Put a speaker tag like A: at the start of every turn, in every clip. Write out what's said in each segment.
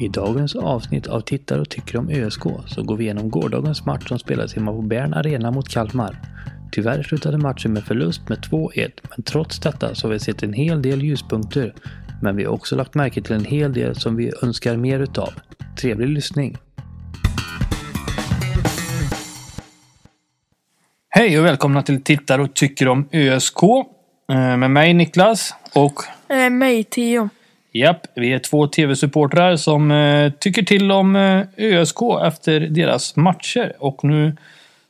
A: I dagens avsnitt av Tittar och tycker om ÖSK så går vi igenom gårdagens match som spelades hemma på Bern Arena mot Kalmar. Tyvärr slutade matchen med förlust med 2-1, men trots detta så har vi sett en hel del ljuspunkter. Men vi har också lagt märke till en hel del som vi önskar mer utav. Trevlig lyssning! Hej och välkomna till Tittar och tycker om ÖSK. Eh, Med mig Niklas och
B: Eh, mig, Tio.
A: Japp, vi är två tv-supportrar som eh, tycker till om eh, ÖSK efter deras matcher. Och nu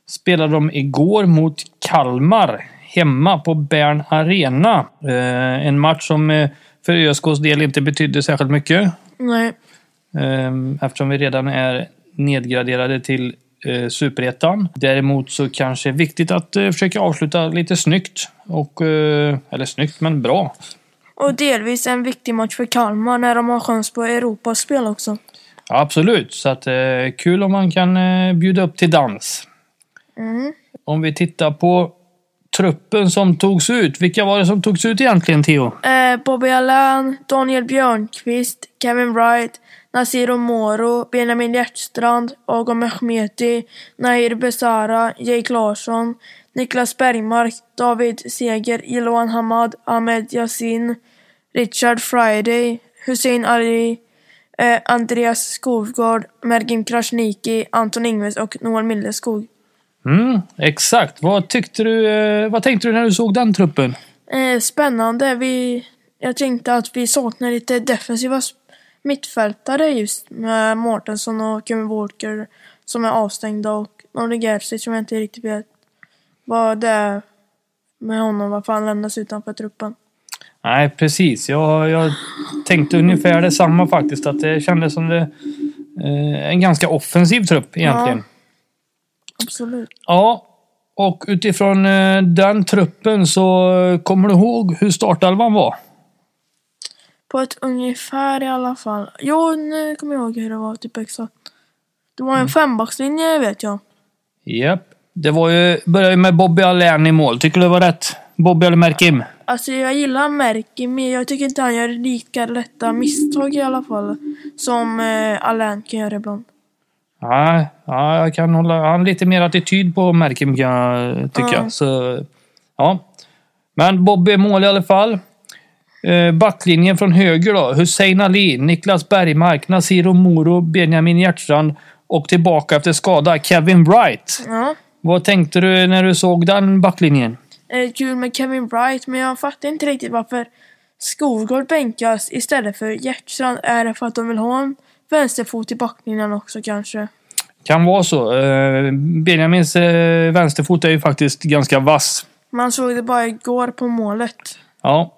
A: spelade de igår mot Kalmar hemma på Bern Arena. Eh, en match som eh, för ÖSKs del inte betydde särskilt mycket.
B: Nej.
A: Ehm, Eftersom vi redan är nedgraderade till eh, superettan. Däremot så kanske det är viktigt att eh, försöka avsluta lite snyggt. Och, eh, eller snyggt, men bra.
B: Och delvis en viktig match för Kalmar när de har chans på Europaspel också.
A: Ja, absolut, så att, eh, kul om man kan eh, bjuda upp till dans.
B: Mm.
A: Om vi tittar på truppen som togs ut. Vilka var det som togs ut egentligen, Theo?
B: Eh, Bobby Allan, Daniel Björnqvist, Kevin Wright, Nasiro Moro, Benjamin Hjertstrand, Agam Mehmeti, Nahir Besara, Jake Larsson, Niklas Bergmark, David Seger, Iloan Hamad, Ahmed Yassin, Richard Friday, Hussein Ali, eh, Andreas Skovgård, Mergim Krasniki, Anton Ingves och Noel Milleskog.
A: Mm, exakt. Vad, tyckte du, eh, vad tänkte du när du såg den truppen?
B: Eh, spännande. Vi, jag tänkte att vi saknar lite defensiva sp- mittfältare just med Mårtensson och Kevin Walker som är avstängda och Nordic Gerzic som jag inte riktigt vet vad det är med honom, varför han lämnas utanför truppen.
A: Nej, precis. Jag, jag tänkte ungefär detsamma faktiskt. Att det kändes som det, eh, en ganska offensiv trupp egentligen.
B: Absolut.
A: Ja, och utifrån eh, den truppen så eh, kommer du ihåg hur startelvan var?
B: På ett ungefär i alla fall. Jo, nu kommer jag ihåg hur det var typ exakt. Det var en fembackslinje vet jag.
A: Japp. Det var ju, började ju med Bobby Allén i mål. Tycker du det var rätt? Bobby eller Merkim?
B: Alltså jag gillar Merki men jag tycker inte han gör lika lätta misstag i alla fall. Som eh, Alain kan göra ibland.
A: Nej, ja, jag kan hålla... Han har lite mer attityd på Merkim kan jag tycka.
B: Ja.
A: Så, ja. Men Bobby i mål i alla fall. Eh, Backlinjen från höger då. Hussein Ali, Niklas Bergmark, Nasiro Moro, Benjamin Hjertstrand och tillbaka efter skada Kevin Wright.
B: Ja.
A: Vad tänkte du när du såg den backlinjen?
B: Eh, kul med Kevin Bright men jag fattar inte riktigt varför Skovgård bänkas istället för Hjertstrand. Är det för att de vill ha en vänsterfot i backlinjen också kanske?
A: Kan vara så. Eh, Benjamins eh, vänsterfot är ju faktiskt ganska vass.
B: Man såg det bara igår på målet.
A: Ja.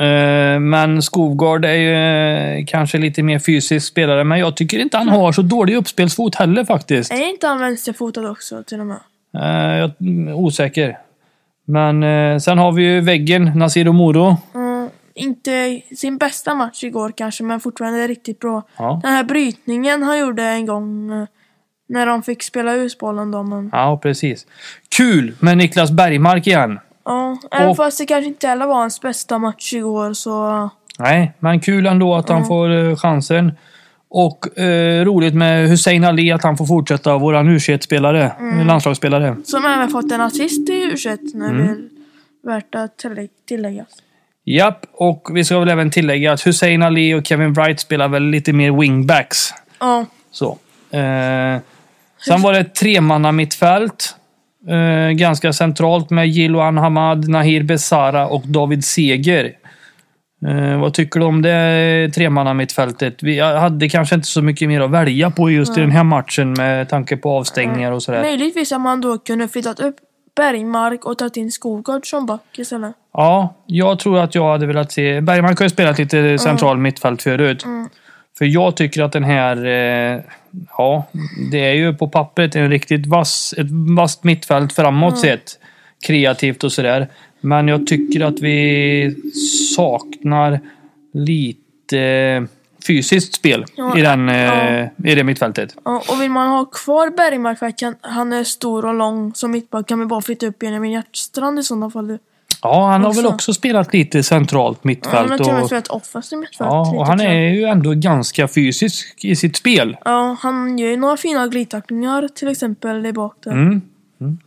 A: Eh, Men Skovgård är ju eh, kanske lite mer fysisk spelare, men jag tycker inte han har så dålig uppspelsfot heller faktiskt.
B: Är inte han vänsterfotad också till och med?
A: Eh, Jag är osäker. Men eh, sen har vi ju väggen, Nasir Moro.
B: Mm, inte sin bästa match igår kanske men fortfarande riktigt bra.
A: Ja.
B: Den här brytningen han gjorde en gång eh, när de fick spela ut bollen då men...
A: ja, precis. Kul med Niklas Bergmark igen.
B: Ja, även
A: Och-
B: fast det kanske inte heller var hans bästa match igår så...
A: Nej, men kul ändå att han får eh, chansen. Och eh, roligt med Hussein Ali, att han får fortsätta. Våran u spelare landslagsspelare.
B: Som även fått en assist i u nu
A: Mm.
B: det är värt att tillägg- tilläggas.
A: Japp, och vi ska väl även tillägga att Hussein Ali och Kevin Wright spelar väl lite mer wingbacks.
B: Ja,
A: Så. Eh, sen var det ett tremannamittfält. Eh, ganska centralt med Jiloan Hamad, Nahir Besara och David Seger. Eh, vad tycker du om det tremannamittfältet? Vi hade kanske inte så mycket mer att välja på just i den här matchen med tanke på avstängningar och sådär.
B: möjligtvis att man då kunde flyttat upp Bergmark och tagit in Skogård som back istället.
A: Ja, jag tror att jag hade velat se... Bergman har ju spelat
B: Mm.
A: lite central mittfält förut. För jag tycker att den här... Eh, ja, det är ju på pappret en riktigt vass, ett vasst mittfält framåt
B: Mm.
A: sett. Kreativt och sådär. Men jag tycker att vi saknar lite fysiskt spel
B: Ja,
A: i, den, eh,
B: ja.
A: i det mittfältet.
B: Ja, och vill man ha kvar Bergmark för att kan, han är stor och lång som mittback kan vi bara flytta upp Benjamin Hjertstrand i sådana fall.
A: Ja, han har väl
B: Också.
A: också spelat lite centralt
B: Han har
A: mittfält.
B: till och med
A: Och,
B: spelat offensiv mittfält.
A: ja,
B: lite
A: och han
B: grann.
A: är ju ändå ganska fysisk i sitt spel.
B: Ja, han gör ju några fina glidtacklingar till exempel där bak där.
A: Mm. Mm.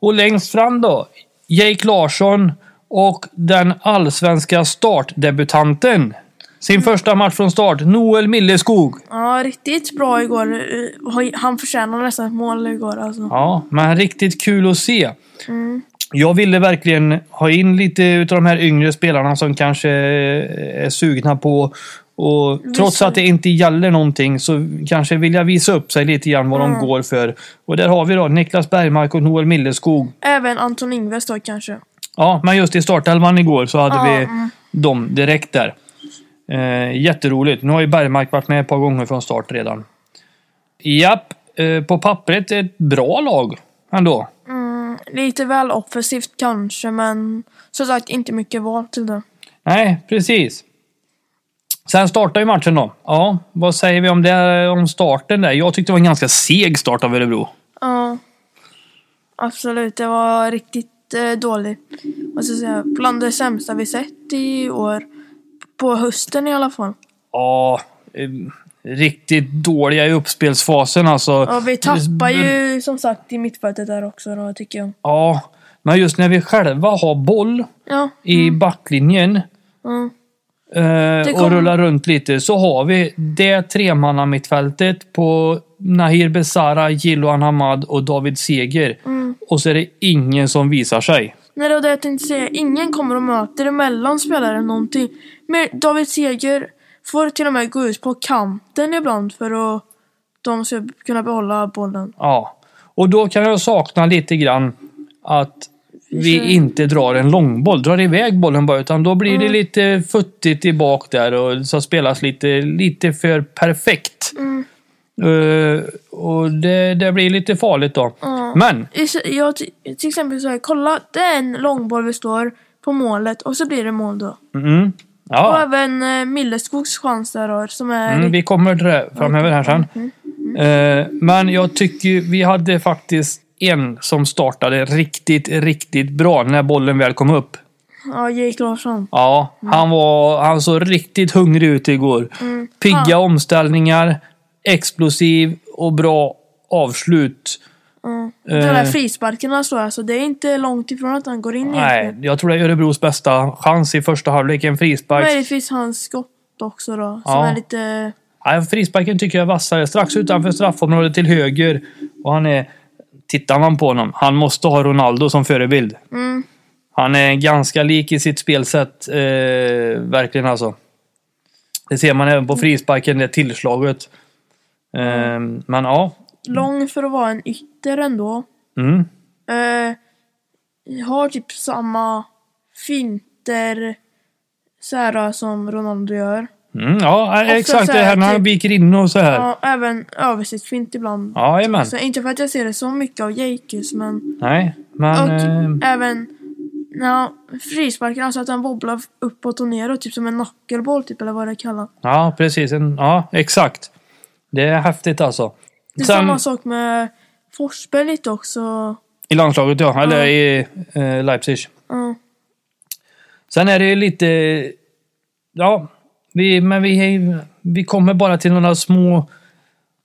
A: Och längst fram då? Jake Larsson och den allsvenska startdebutanten. Sin första match från start, Noel Milleskog.
B: Ja, riktigt bra igår. Eh, Han förtjänade nästan ett mål igår alltså.
A: Ja, men riktigt kul att se. Jag ville verkligen ha in lite utav de här yngre spelarna som kanske eh, är sugna på och trots
B: Visa.
A: att det inte gäller någonting så kanske vill jag visa upp sig lite grann vad de går för. Och där har vi då Niklas Bergmark och Noel Milleskog.
B: Även Anton Ingves då kanske.
A: Ja, men just i startelvan igår så hade
B: Ja, mm.
A: vi dem direkt där. Eh, jätteroligt. Nu har ju Bergmark varit med ett par gånger från start redan. Japp, eh, på pappret ett bra lag ändå.
B: Mm, lite väl offensivt kanske, men som sagt inte mycket val till det.
A: Nej, precis. Sen startar ju matchen då. Ja, vad säger vi om, det, om starten där? Jag tyckte det var en ganska seg start av Örebro.
B: Ja, absolut. Det var riktigt eh, dålig. Vad ska jag säga? Bland det sämsta vi sett i år. På hösten i alla fall.
A: Ja, eh, riktigt dåliga i uppspelsfasen alltså.
B: Ja, vi tappar ju som sagt i mittfältet där också då, tycker jag.
A: Ja, men just när vi själva har boll
B: Ja,
A: i backlinjen
B: mm.
A: eh, och
B: kom-
A: rullar runt lite så har vi det tremannamittfältet på Nahir Besara, Jiloan Hamad och David Seger. Och så är det ingen som visar sig.
B: Nej, det var det jag tänkte säga. Ingen kommer och möter emellan spelare någonting. Men David Seger får till och med gå ut på kanten ibland för att de ska kunna behålla bollen.
A: Ja, och då kan jag sakna lite grann att vi inte drar en långboll, drar iväg bollen bara, utan då blir det lite futtigt i bak där och så spelas lite, lite för perfekt. Eh, och det, det blir lite farligt då. Men,
B: I- så- Jag, ty- till exempel så här, kolla, det är en långboll vi står på målet och så blir det mål då.
A: mm,
B: Och
A: ja,
B: även eh, Milleskogs chans där då, som är...
A: mm, vi kommer till det framöver här sen. Eh, men jag tycker ju- vi hade faktiskt en som startade riktigt, riktigt bra när bollen väl kom upp.
B: Ja, Jake Larsson.
A: Ja, han, var, han såg riktigt hungrig ut igår. Pigga omställningar, explosiv och bra avslut.
B: De där
A: Eh.
B: frisparkarna så alltså, det är inte långt ifrån att han går in
A: Nej,
B: egentligen.
A: jag tror det är Örebros bästa chans i första halvlek. En frispark.
B: Möjligtvis hans skott också då, som
A: Ja.
B: är lite...
A: Nej, frisparken tycker jag är vassare. Strax utanför straffområdet till höger. Och han är... Tittar man på honom, han måste ha Ronaldo som förebild.
B: Mm.
A: Han är ganska lik i sitt spelsätt. Eh, verkligen alltså. Det ser man även på frisparken, det tillslaget. Eh, Men ja.
B: lång för att vara en ytter ändå.
A: Mm.
B: Eh, har typ samma finter så här då, som Ronaldo gör.
A: Mm, ja,
B: sen
A: exakt.
B: så
A: Det
B: här
A: här när han
B: typ-
A: viker in och så här.
B: Ja, även översiktsfint ibland.
A: Ja, jajamän.
B: Så inte för att jag ser det så mycket av Jakes men...
A: Nej, men...
B: Och typ
A: Eh,
B: även när han frisparkar, alltså att han wobblar uppåt och neråt, typ som en nackelboll typ, eller vad det kallas.
A: ja, precis. En, ja, exakt. Det är häftigt alltså.
B: Det är
A: Sen
B: samma sak med Forsberg lite också.
A: i landslaget, ja. Eller i eh, Leipzig.
B: Ja.
A: Sen är det ju lite... Ja, vi, men vi, vi kommer bara till några små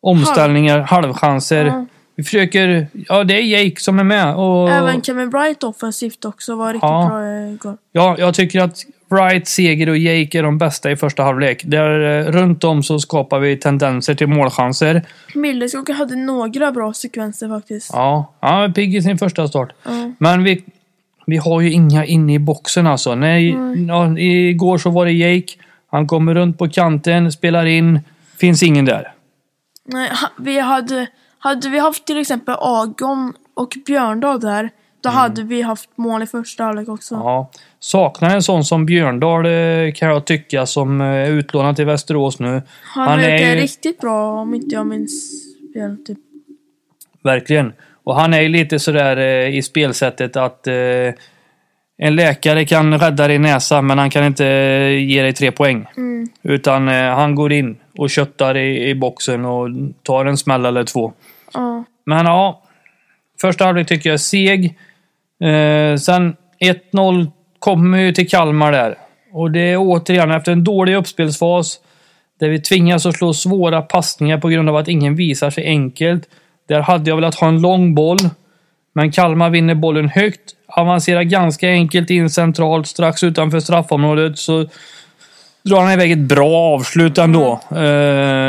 A: omställningar, halvchanser.
B: Ja.
A: Vi försöker... Ja, det är Jake som är med. Och,
B: Även Kevin Bright offensivt också var riktigt
A: Ja.
B: bra igår.
A: Ja, jag tycker att Wright, Seger och Jake är de bästa i första halvlek. Där, eh, runt om så skapar vi tendenser till målchanser.
B: Milleskog hade några bra sekvenser faktiskt.
A: Ja, han är pigg i sin första start.
B: Ja.
A: Men vi, vi har ju inga inne i boxen alltså. Nej, ja, igår så var det Jake. Han kommer runt på kanten, spelar in. Finns ingen där.
B: Nej, ha- vi hade, hade vi haft till exempel Agon och Björndal där, då hade vi haft mål i första halvlek också.
A: Mm. Ja. Saknar en sån som Björndal eh, kan jag tycka som eh, är utlånad till Västerås nu.
B: Han,
A: Han är
B: verkar
A: ju-
B: riktigt bra om inte jag minns fel. Typ.
A: Verkligen. Och han är ju lite sådär eh, i spelsättet att eh, en läkare kan rädda din näsa men han kan inte eh, ge dig tre poäng.
B: Mm.
A: Utan eh, han går in och köttar i, i boxen och tar en smäll eller två.
B: Ja.
A: Men ja, första halvlek tycker jag är seg. Eh, sen 1-0 kommer ju till Kalmar där. Och det är återigen efter en dålig uppspelsfas där vi tvingas att slå svåra passningar på grund av att ingen visar sig enkelt. Där hade jag velat ha en lång boll. Men Kalmar vinner bollen högt, avancerar ganska enkelt in centralt strax utanför straffområdet. Så drar han iväg ett bra avslut ändå. Eh,
B: Mm.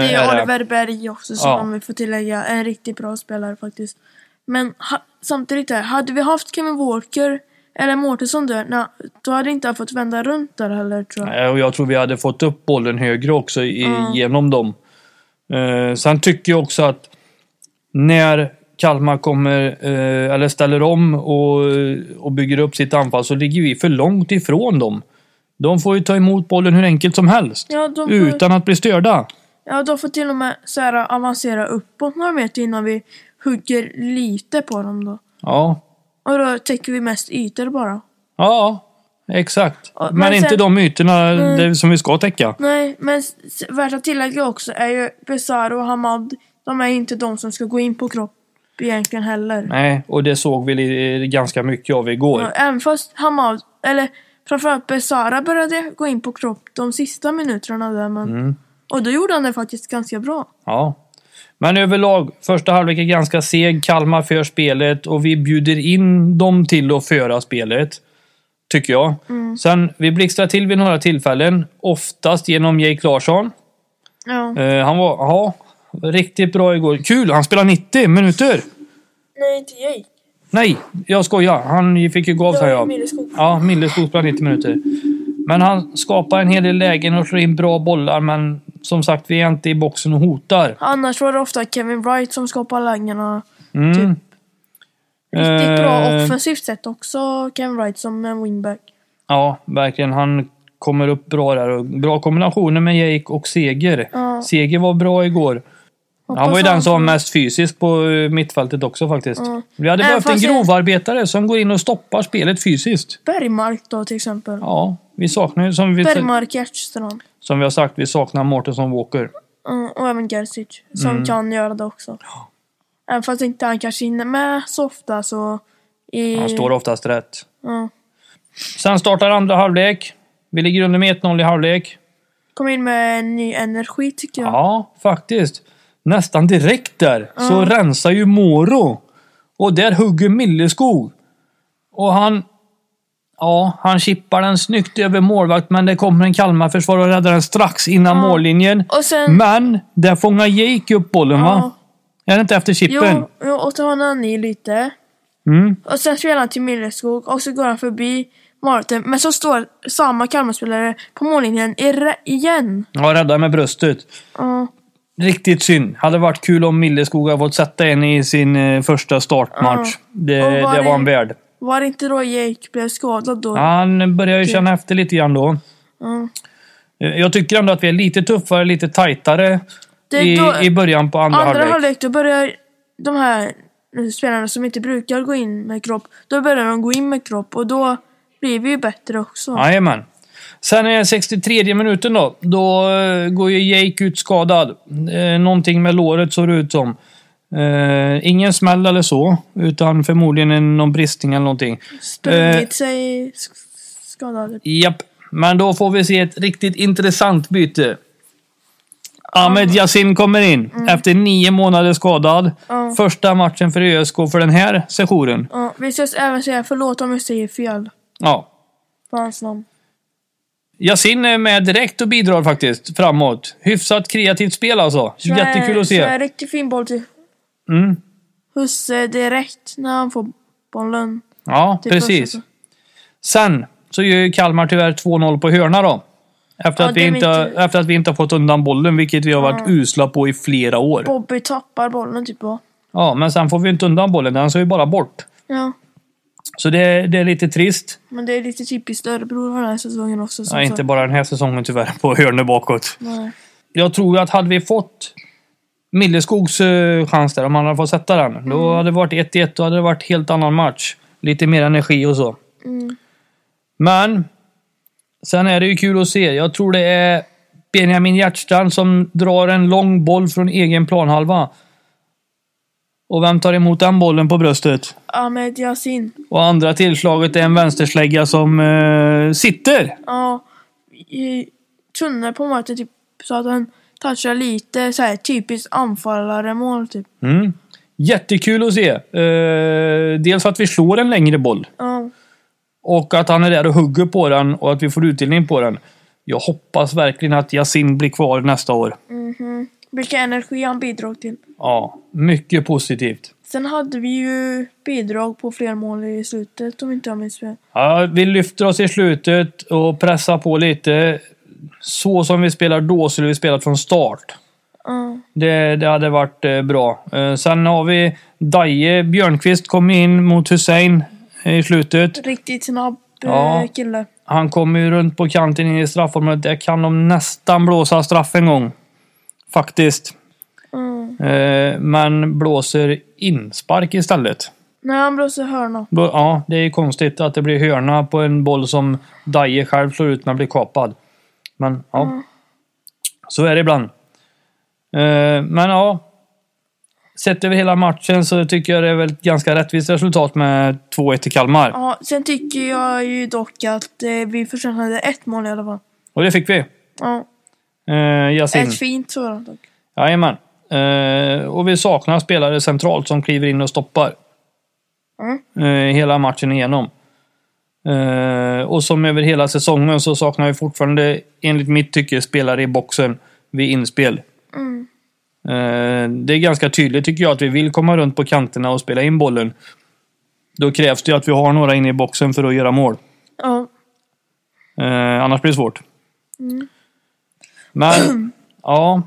B: Det
A: är
B: är
A: det.
B: Oliver Berg också som
A: Ja.
B: om vi får tillägga. En riktigt bra spelare faktiskt. Men ha, samtidigt här, hade vi haft Kevin Walker eller Mårtensson där, nej, då hade inte han fått vända runt där heller tror jag.
A: Eh, Och jag tror vi hade fått upp bollen högre också i, genom dem. Eh, sen tycker jag också att när Kalmar kommer, eh, eller ställer om och, och bygger upp sitt anfall så ligger vi för långt ifrån dem. De får ju ta emot bollen hur enkelt som helst.
B: Ja, de får,
A: Utan att bli störda.
B: ja, de får till och med så här, avancera uppåt några meter innan vi hugger lite på dem då.
A: Ja,
B: Och då täcker vi mest ytor bara.
A: ja exakt.
B: Och-
A: Men,
B: men
A: inte
B: sen- Mm.
A: de ytorna det, som vi ska täcka.
B: Nej, men s- s- värt att tillägga också är ju Besaro och Hamad, de är inte de som ska gå in på kropp egentligen heller.
A: Nej, och det såg vi li- ganska mycket av igår.
B: Ja, Även fast Hamad, eller framförallt Besara började gå in på kropp de sista minuterna där men...
A: Mm.
B: Och då gjorde han det faktiskt ganska bra.
A: Ja. Men överlag, första halvlek är ganska seg. Kalmar för spelet och vi bjuder in dem till att föra spelet. Tycker jag. Sen, vi blixtrar till vid några tillfällen. Oftast genom Jake Larsson.
B: Ja.
A: Eh, han var, ja, riktigt bra igår. Kul! Han spelar 90 minuter!
B: Nej, inte Jake.
A: Nej, jag skojar. Han fick ju gå av sig. Ja.
B: Milleskog.
A: Ja, Milleskog spelar 90 minuter. Men han skapar en hel del lägen och slår in bra bollar. Men som sagt, vi är inte i boxen och hotar.
B: Annars var det ofta Kevin Wright som skapade lägena.
A: Mm.
B: Typ. Riktigt bra
A: Eh,
B: offensivt sett också, Kevin Wright som en wingback.
A: Ja, verkligen. Han kommer upp bra där. och Bra kombinationer med Jake och Seger.
B: Ja.
A: Seger var bra igår.
B: Hoppas
A: Han var ju den som var
B: får-
A: mest fysisk på eh, mittfältet också faktiskt.
B: Ja.
A: Vi hade
B: Även
A: behövt en
B: fast jag-
A: grovarbetare som går in och stoppar spelet fysiskt.
B: Bergmark då till exempel.
A: Ja, vi saknar ju som vi,
B: Bergmark Hjertstrand. som
A: som vi har sagt, vi saknar Mårtensson Walker.
B: Mm, och även Gerzic som
A: Mm.
B: kan göra det också. Även fast inte han kanske hinner med så ofta så... I...
A: Han står oftast rätt.
B: Ja.
A: Sen startar andra halvlek. Vi ligger under med 1-0 i halvlek.
B: Kom in med en ny energi tycker jag.
A: Ja, faktiskt. Nästan direkt där så rensar ju Moro. Och där hugger Milleskog. Och han... Ja, han chippar den snyggt över målvakt, men det kommer en Kalmarförsvarare och räddar den strax innan mållinjen.
B: Och sen...
A: Men där fångar Jake upp bollen, va? Är det inte efter chippen?
B: Jo, jo, och så har han i lite.
A: Mm.
B: Och sen spelar han till Milleskog och så går han förbi Martin. Men så står samma Kalmarspelare på mållinjen i re- igen.
A: Ja, räddar med bröstet.
B: Ja.
A: Riktigt synd. Hade varit kul om Milleskog hade fått sätta en i sin eh, första startmatch. Det,
B: Och var
A: det var
B: det-
A: en värd.
B: var det inte då Jake blev skadad då?
A: Han börjar ju känna efter lite grann då.
B: Ja.
A: Eh, Jag tycker ändå att vi är lite tuffare, lite tajtare
B: Det är
A: i,
B: då-
A: i början på andra,
B: Andra
A: halvlek.
B: halvlek, då börjar de här spelarna som inte brukar gå in med kropp, då börjar de gå in med kropp och då blir vi ju bättre också.
A: Jajamän. Sen är det 63 minuten då. Då eh, går ju Jake ut skadad. Eh, Någonting med låret såg det ut som. Eh, ingen smäll eller så, utan förmodligen en- någon bristning eller någonting. eh,
B: Sprungit sig sk- skadad.
A: Japp, men då får vi se ett riktigt intressant byte. Ahmed Yassin kommer in efter nio månader skadad.
B: Mm. Ja.
A: Första matchen för ÖSK för den här sessionen.
B: Ja, vi ska även säga förlåt om vi säger fel
A: Ja.
B: på hans namn.
A: Yassin är med direkt och bidrar faktiskt framåt. Hyfsat kreativt spel alltså.
B: Så
A: Jättekul
B: är-
A: att
B: Så är
A: se.
B: riktigt fin boll till
A: Mm.
B: Husse direkt när han får bollen.
A: Ja,
B: Typ
A: precis.
B: också.
A: Sen så gör ju Kalmar tyvärr 2-0 på hörna då. Efter,
B: Ja,
A: att vi
B: det är
A: inte,
B: inte-
A: efter att vi inte har fått undan bollen, vilket vi har varit usla på i flera år.
B: Bobby tappar bollen typ va?
A: Ja, men sen får vi inte undan bollen. Den ska ju bara bort.
B: Ja,
A: Så det, det är lite trist.
B: men det är lite typiskt Örebro den här säsongen också. som
A: Ja, inte
B: sagt.
A: bara den här säsongen tyvärr, på hörnet bakåt.
B: Nej.
A: Jag tror ju att hade vi fått Milleskogs eh, chans där, om han hade fått sätta den, då hade det varit 1-1. Då hade det varit helt annan match. Lite mer energi och så.
B: Mm.
A: Men, sen är det ju kul att se. Jag tror det är Benjamin Hjertstrand som drar en lång boll från egen planhalva. Och vem tar emot den bollen på bröstet?
B: Ahmed Yasin.
A: Och andra tillslaget är en vänsterslägga som eh, sitter.
B: Ja, i- Tunne på marken typ så att den touchar lite så här typiskt anfallare-mål typ.
A: Mm. Jättekul att se. Eh, dels att vi slår en längre boll.
B: Ja,
A: Och att han är där och hugger på den och att vi får utdelning på den. Jag hoppas verkligen att Yasin blir kvar nästa år.
B: mhm. Vilken energi han bidrog till.
A: Ja, mycket positivt.
B: Sen hade vi ju bidrag på fler mål i slutet om inte jag minns fel.
A: Ja, vi lyfter oss i slutet och pressar på lite. Så som vi spelar då skulle vi spela från start.
B: Ja,
A: Det, det hade varit eh, bra. Eh, sen har vi Daje Björnqvist kom in mot Hussein i slutet.
B: riktigt snabb eh,
A: Ja.
B: kille.
A: Han kommer ju runt på kanten in i straffområdet. Där kan de nästan blåsa straff en gång. Faktiskt.
B: Mm.
A: Eh, men blåser inspark istället.
B: Nej, han blåser hörna.
A: Blå- Ja, det är ju konstigt att det blir hörna på en boll som Daje själv slår ut när han blir kapad. Men ja, så är det ibland. Eh, Men ja, sett över hela matchen så tycker jag det är väl ett ganska rättvist resultat med 2-1 till Kalmar.
B: Ja, sen tycker jag ju dock att eh, vi förtjänade ett mål i alla fall.
A: Och det fick vi.
B: Ja,
A: Eh, Yasin.
B: ett fint sådant dock.
A: Jajamän. Eh, och vi saknar spelare centralt som kliver in och stoppar. Eh, hela matchen igenom. Eh, och som över hela säsongen så saknar vi fortfarande, enligt mitt tycke, spelare i boxen vid inspel.
B: Mm.
A: Eh, det är ganska tydligt tycker jag att vi vill komma runt på kanterna och spela in bollen. Då krävs det ju att vi har några inne i boxen för att göra mål.
B: Ja,
A: Eh, annars blir det svårt.
B: Mm.
A: Men, ja.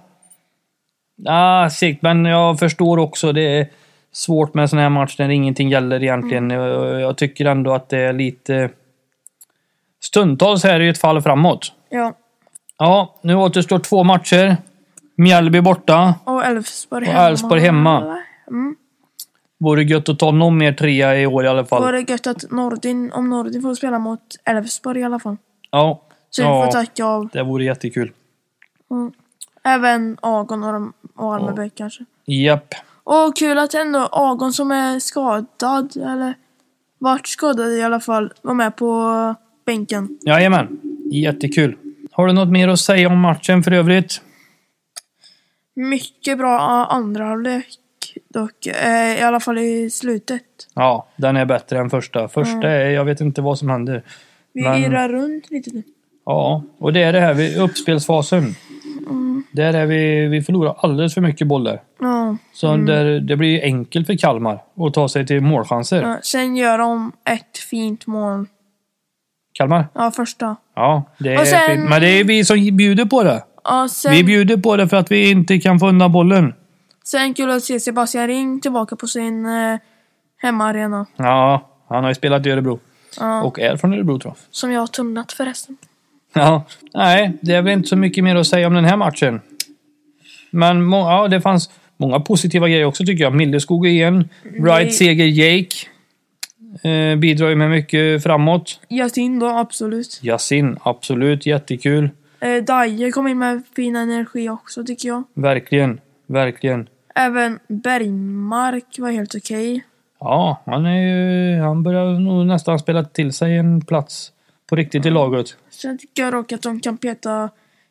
A: Ah, sikt, men jag förstår också. Det är svårt med en sån här match när ingenting gäller egentligen.
B: Mm.
A: Jag, jag tycker ändå att det är lite... Stundtals här är det ju ett fall framåt.
B: ja.
A: Ja, nu återstår två matcher. Mjällby borta.
B: Och Elfsborg
A: Och
B: hemma.
A: Elfsborg hemma.
B: Mm.
A: Vore gött att ta någon mer trea i år i alla
B: Var
A: fall.
B: det gött att Nordin, om Nordin får spela mot Elfsborg i alla fall.
A: Ja,
B: Så vi
A: Ja.
B: får tacka av
A: det vore jättekul.
B: även Agon och, de- och Almebäck kanske.
A: Japp.
B: Och kul att ändå Agon som är skadad, eller vart skadad i alla fall, var med på bänken.
A: Jajamän. Jättekul. Har du något mer att säga om matchen för övrigt?
B: Mycket bra a- andra halvlek dock, eh, i alla fall i slutet.
A: Ja, den är bättre än första. Första
B: Mm.
A: är, jag vet inte vad som händer.
B: Vi
A: Men-
B: irrar runt lite nu.
A: Ja, och det är det här vid uppspelsfasen.
B: Mm.
A: Där är vi, vi förlorar alldeles för mycket bollar.
B: Ja.
A: Så där, det blir enkelt för Kalmar att ta sig till målchanser.
B: ja. Sen gör de ett fint mål.
A: Kalmar?
B: Ja, första.
A: Ja, det är
B: Och sen-
A: fint. Men det är vi som bjuder på det.
B: Ja, sen,
A: Vi bjuder på det för att vi inte kan få undan bollen.
B: sen kul att se Sebastian Ring tillbaka på sin eh, hemmaarena.
A: Ja, han har ju spelat i Örebro.
B: Ja.
A: Och är från Örebro tror jag.
B: Som jag har tunnat förresten.
A: Ja, nej, det är väl inte så mycket mer att säga om den här matchen. Men må- ja, det fanns många positiva grejer också tycker jag. Milleskog igen.
B: Nej.
A: Wright seger Jake. Eh, bidrar ju med mycket framåt.
B: Yasin då, absolut.
A: Yasin, absolut jättekul.
B: Eh, Daje kom in med fin energi också tycker jag.
A: Verkligen, verkligen.
B: Även Bergmark var helt okej.
A: Ja, han är ju... Han börjar nog nästan spela till sig en plats på riktigt i laget.
B: Sen tycker jag dock att de kan peta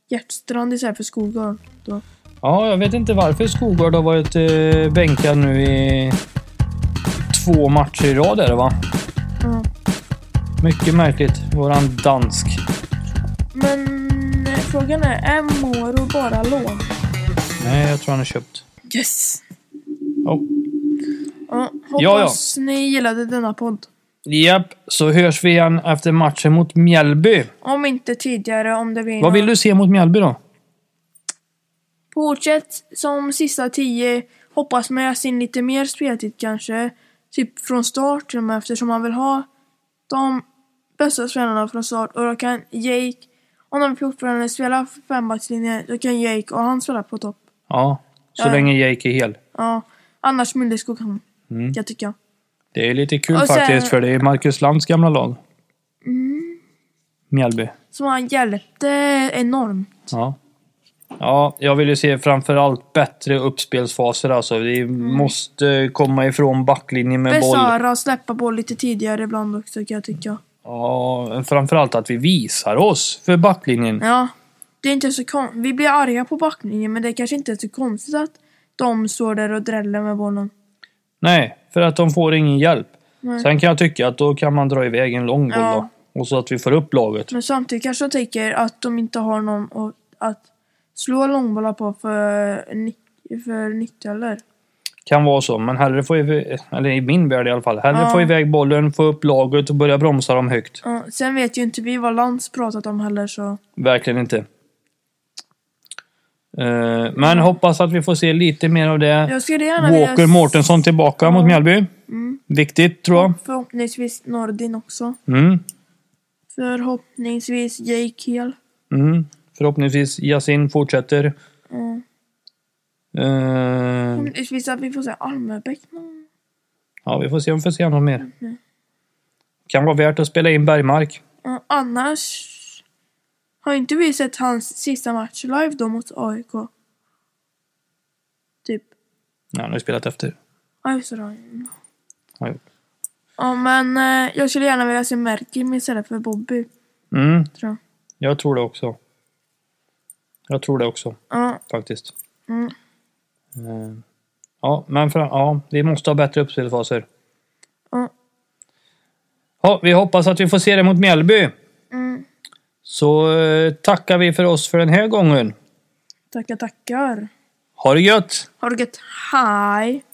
B: Hjärtstrand istället för Skogård. Då.
A: Ja, jag vet inte varför Skogård har varit eh, bänkad nu i två matcher i rad är det va?
B: Ja.
A: Mycket märkligt. Våran dansk.
B: Men eh, frågan är, är Moro bara lån?
A: Nej, jag tror han är köpt.
B: Yes!
A: Oh.
B: Ja,
A: ja.
B: hoppas ni gillade denna podd.
A: Japp, så hörs vi igen efter matchen mot Mjällby.
B: Om inte tidigare, om det blir
A: Vad vill
B: någon-
A: du se mot Mjällby då?
B: Fortsätt som sista tio. Hoppas med jag in lite mer speltid kanske. Typ från start till och med eftersom han vill ha de bästa spelarna från start. Och då kan Jake, om de fortfarande spelar fembackslinjen, då kan Jake och han spela på topp.
A: Ja, så
B: Ja.
A: länge Jake är hel.
B: Ja, annars Milleskog han.
A: Mm.
B: Jag tycker.
A: Det är lite kul
B: Och sen-
A: faktiskt, för det är Marcus Lands gamla lag.
B: Mm.
A: Mjällby.
B: Som han hjälpte enormt.
A: Ja. Ja, jag vill ju se framförallt bättre uppspelsfaser alltså. Vi
B: Mm.
A: måste komma ifrån backlinjen med boll.
B: Besara släppa boll lite tidigare ibland också kan jag tycka.
A: Ja, framförallt att vi visar oss för backlinjen.
B: Ja, det är inte så kon- Vi blir arga på backlinjen men det kanske inte är så konstigt att de står där och dräller med bollen.
A: Nej, för att de får ingen hjälp.
B: Nej.
A: Sen kan jag tycka att då kan man dra iväg en lång boll
B: Ja.
A: då. Och så att vi får upp laget.
B: Men samtidigt kanske jag tänker att de inte har någon att, att slå långbollar på för, ni- för nickdueller.
A: Kan vara så, men hellre få iväg, eller i min värld i alla fall, hellre
B: Ja.
A: få iväg bollen, få upp laget och börja bromsa dem högt.
B: Ja, sen vet ju inte vi vad Lantz pratat om heller så...
A: Verkligen inte. Eh,
B: Mm.
A: men hoppas att vi får se lite mer av det.
B: Jag skulle gärna
A: Walker Mårtensson tillbaka mot Mjällby.
B: Mm.
A: Viktigt tror jag.
B: Förhoppningsvis Nordin också.
A: Mm.
B: Förhoppningsvis Jake Hill.
A: Mm. Förhoppningsvis Yasin fortsätter.
B: Mm.
A: Eh,
B: Förhoppningsvis att vi får se Almebäck någon.
A: ja, vi får se om vi får se något
B: Mm,
A: mer. Kan vara värt att spela in Bergmark.
B: Ja, annars... Har inte vi sett hans sista match live då mot AIK? Typ.
A: Ja, han har ju spelat efter.
B: Ja, just det. då.
A: Ja, jo.
B: Ja, men eh, jag skulle gärna vilja se Merkim istället för Bobby,
A: Mm,
B: tror jag.
A: jag tror det också. Jag tror det också.
B: Ja,
A: faktiskt.
B: Mm.
A: Eh, Ja, men för, ja, vi måste ha bättre uppspelsfaser.
B: Ja.
A: Ja, vi hoppas att vi får se det mot Mjällby.
B: mm.
A: Så eh, tackar vi för oss för den här gången.
B: Tackar, tackar.
A: Ha det gött!
B: Har du gött? Hej!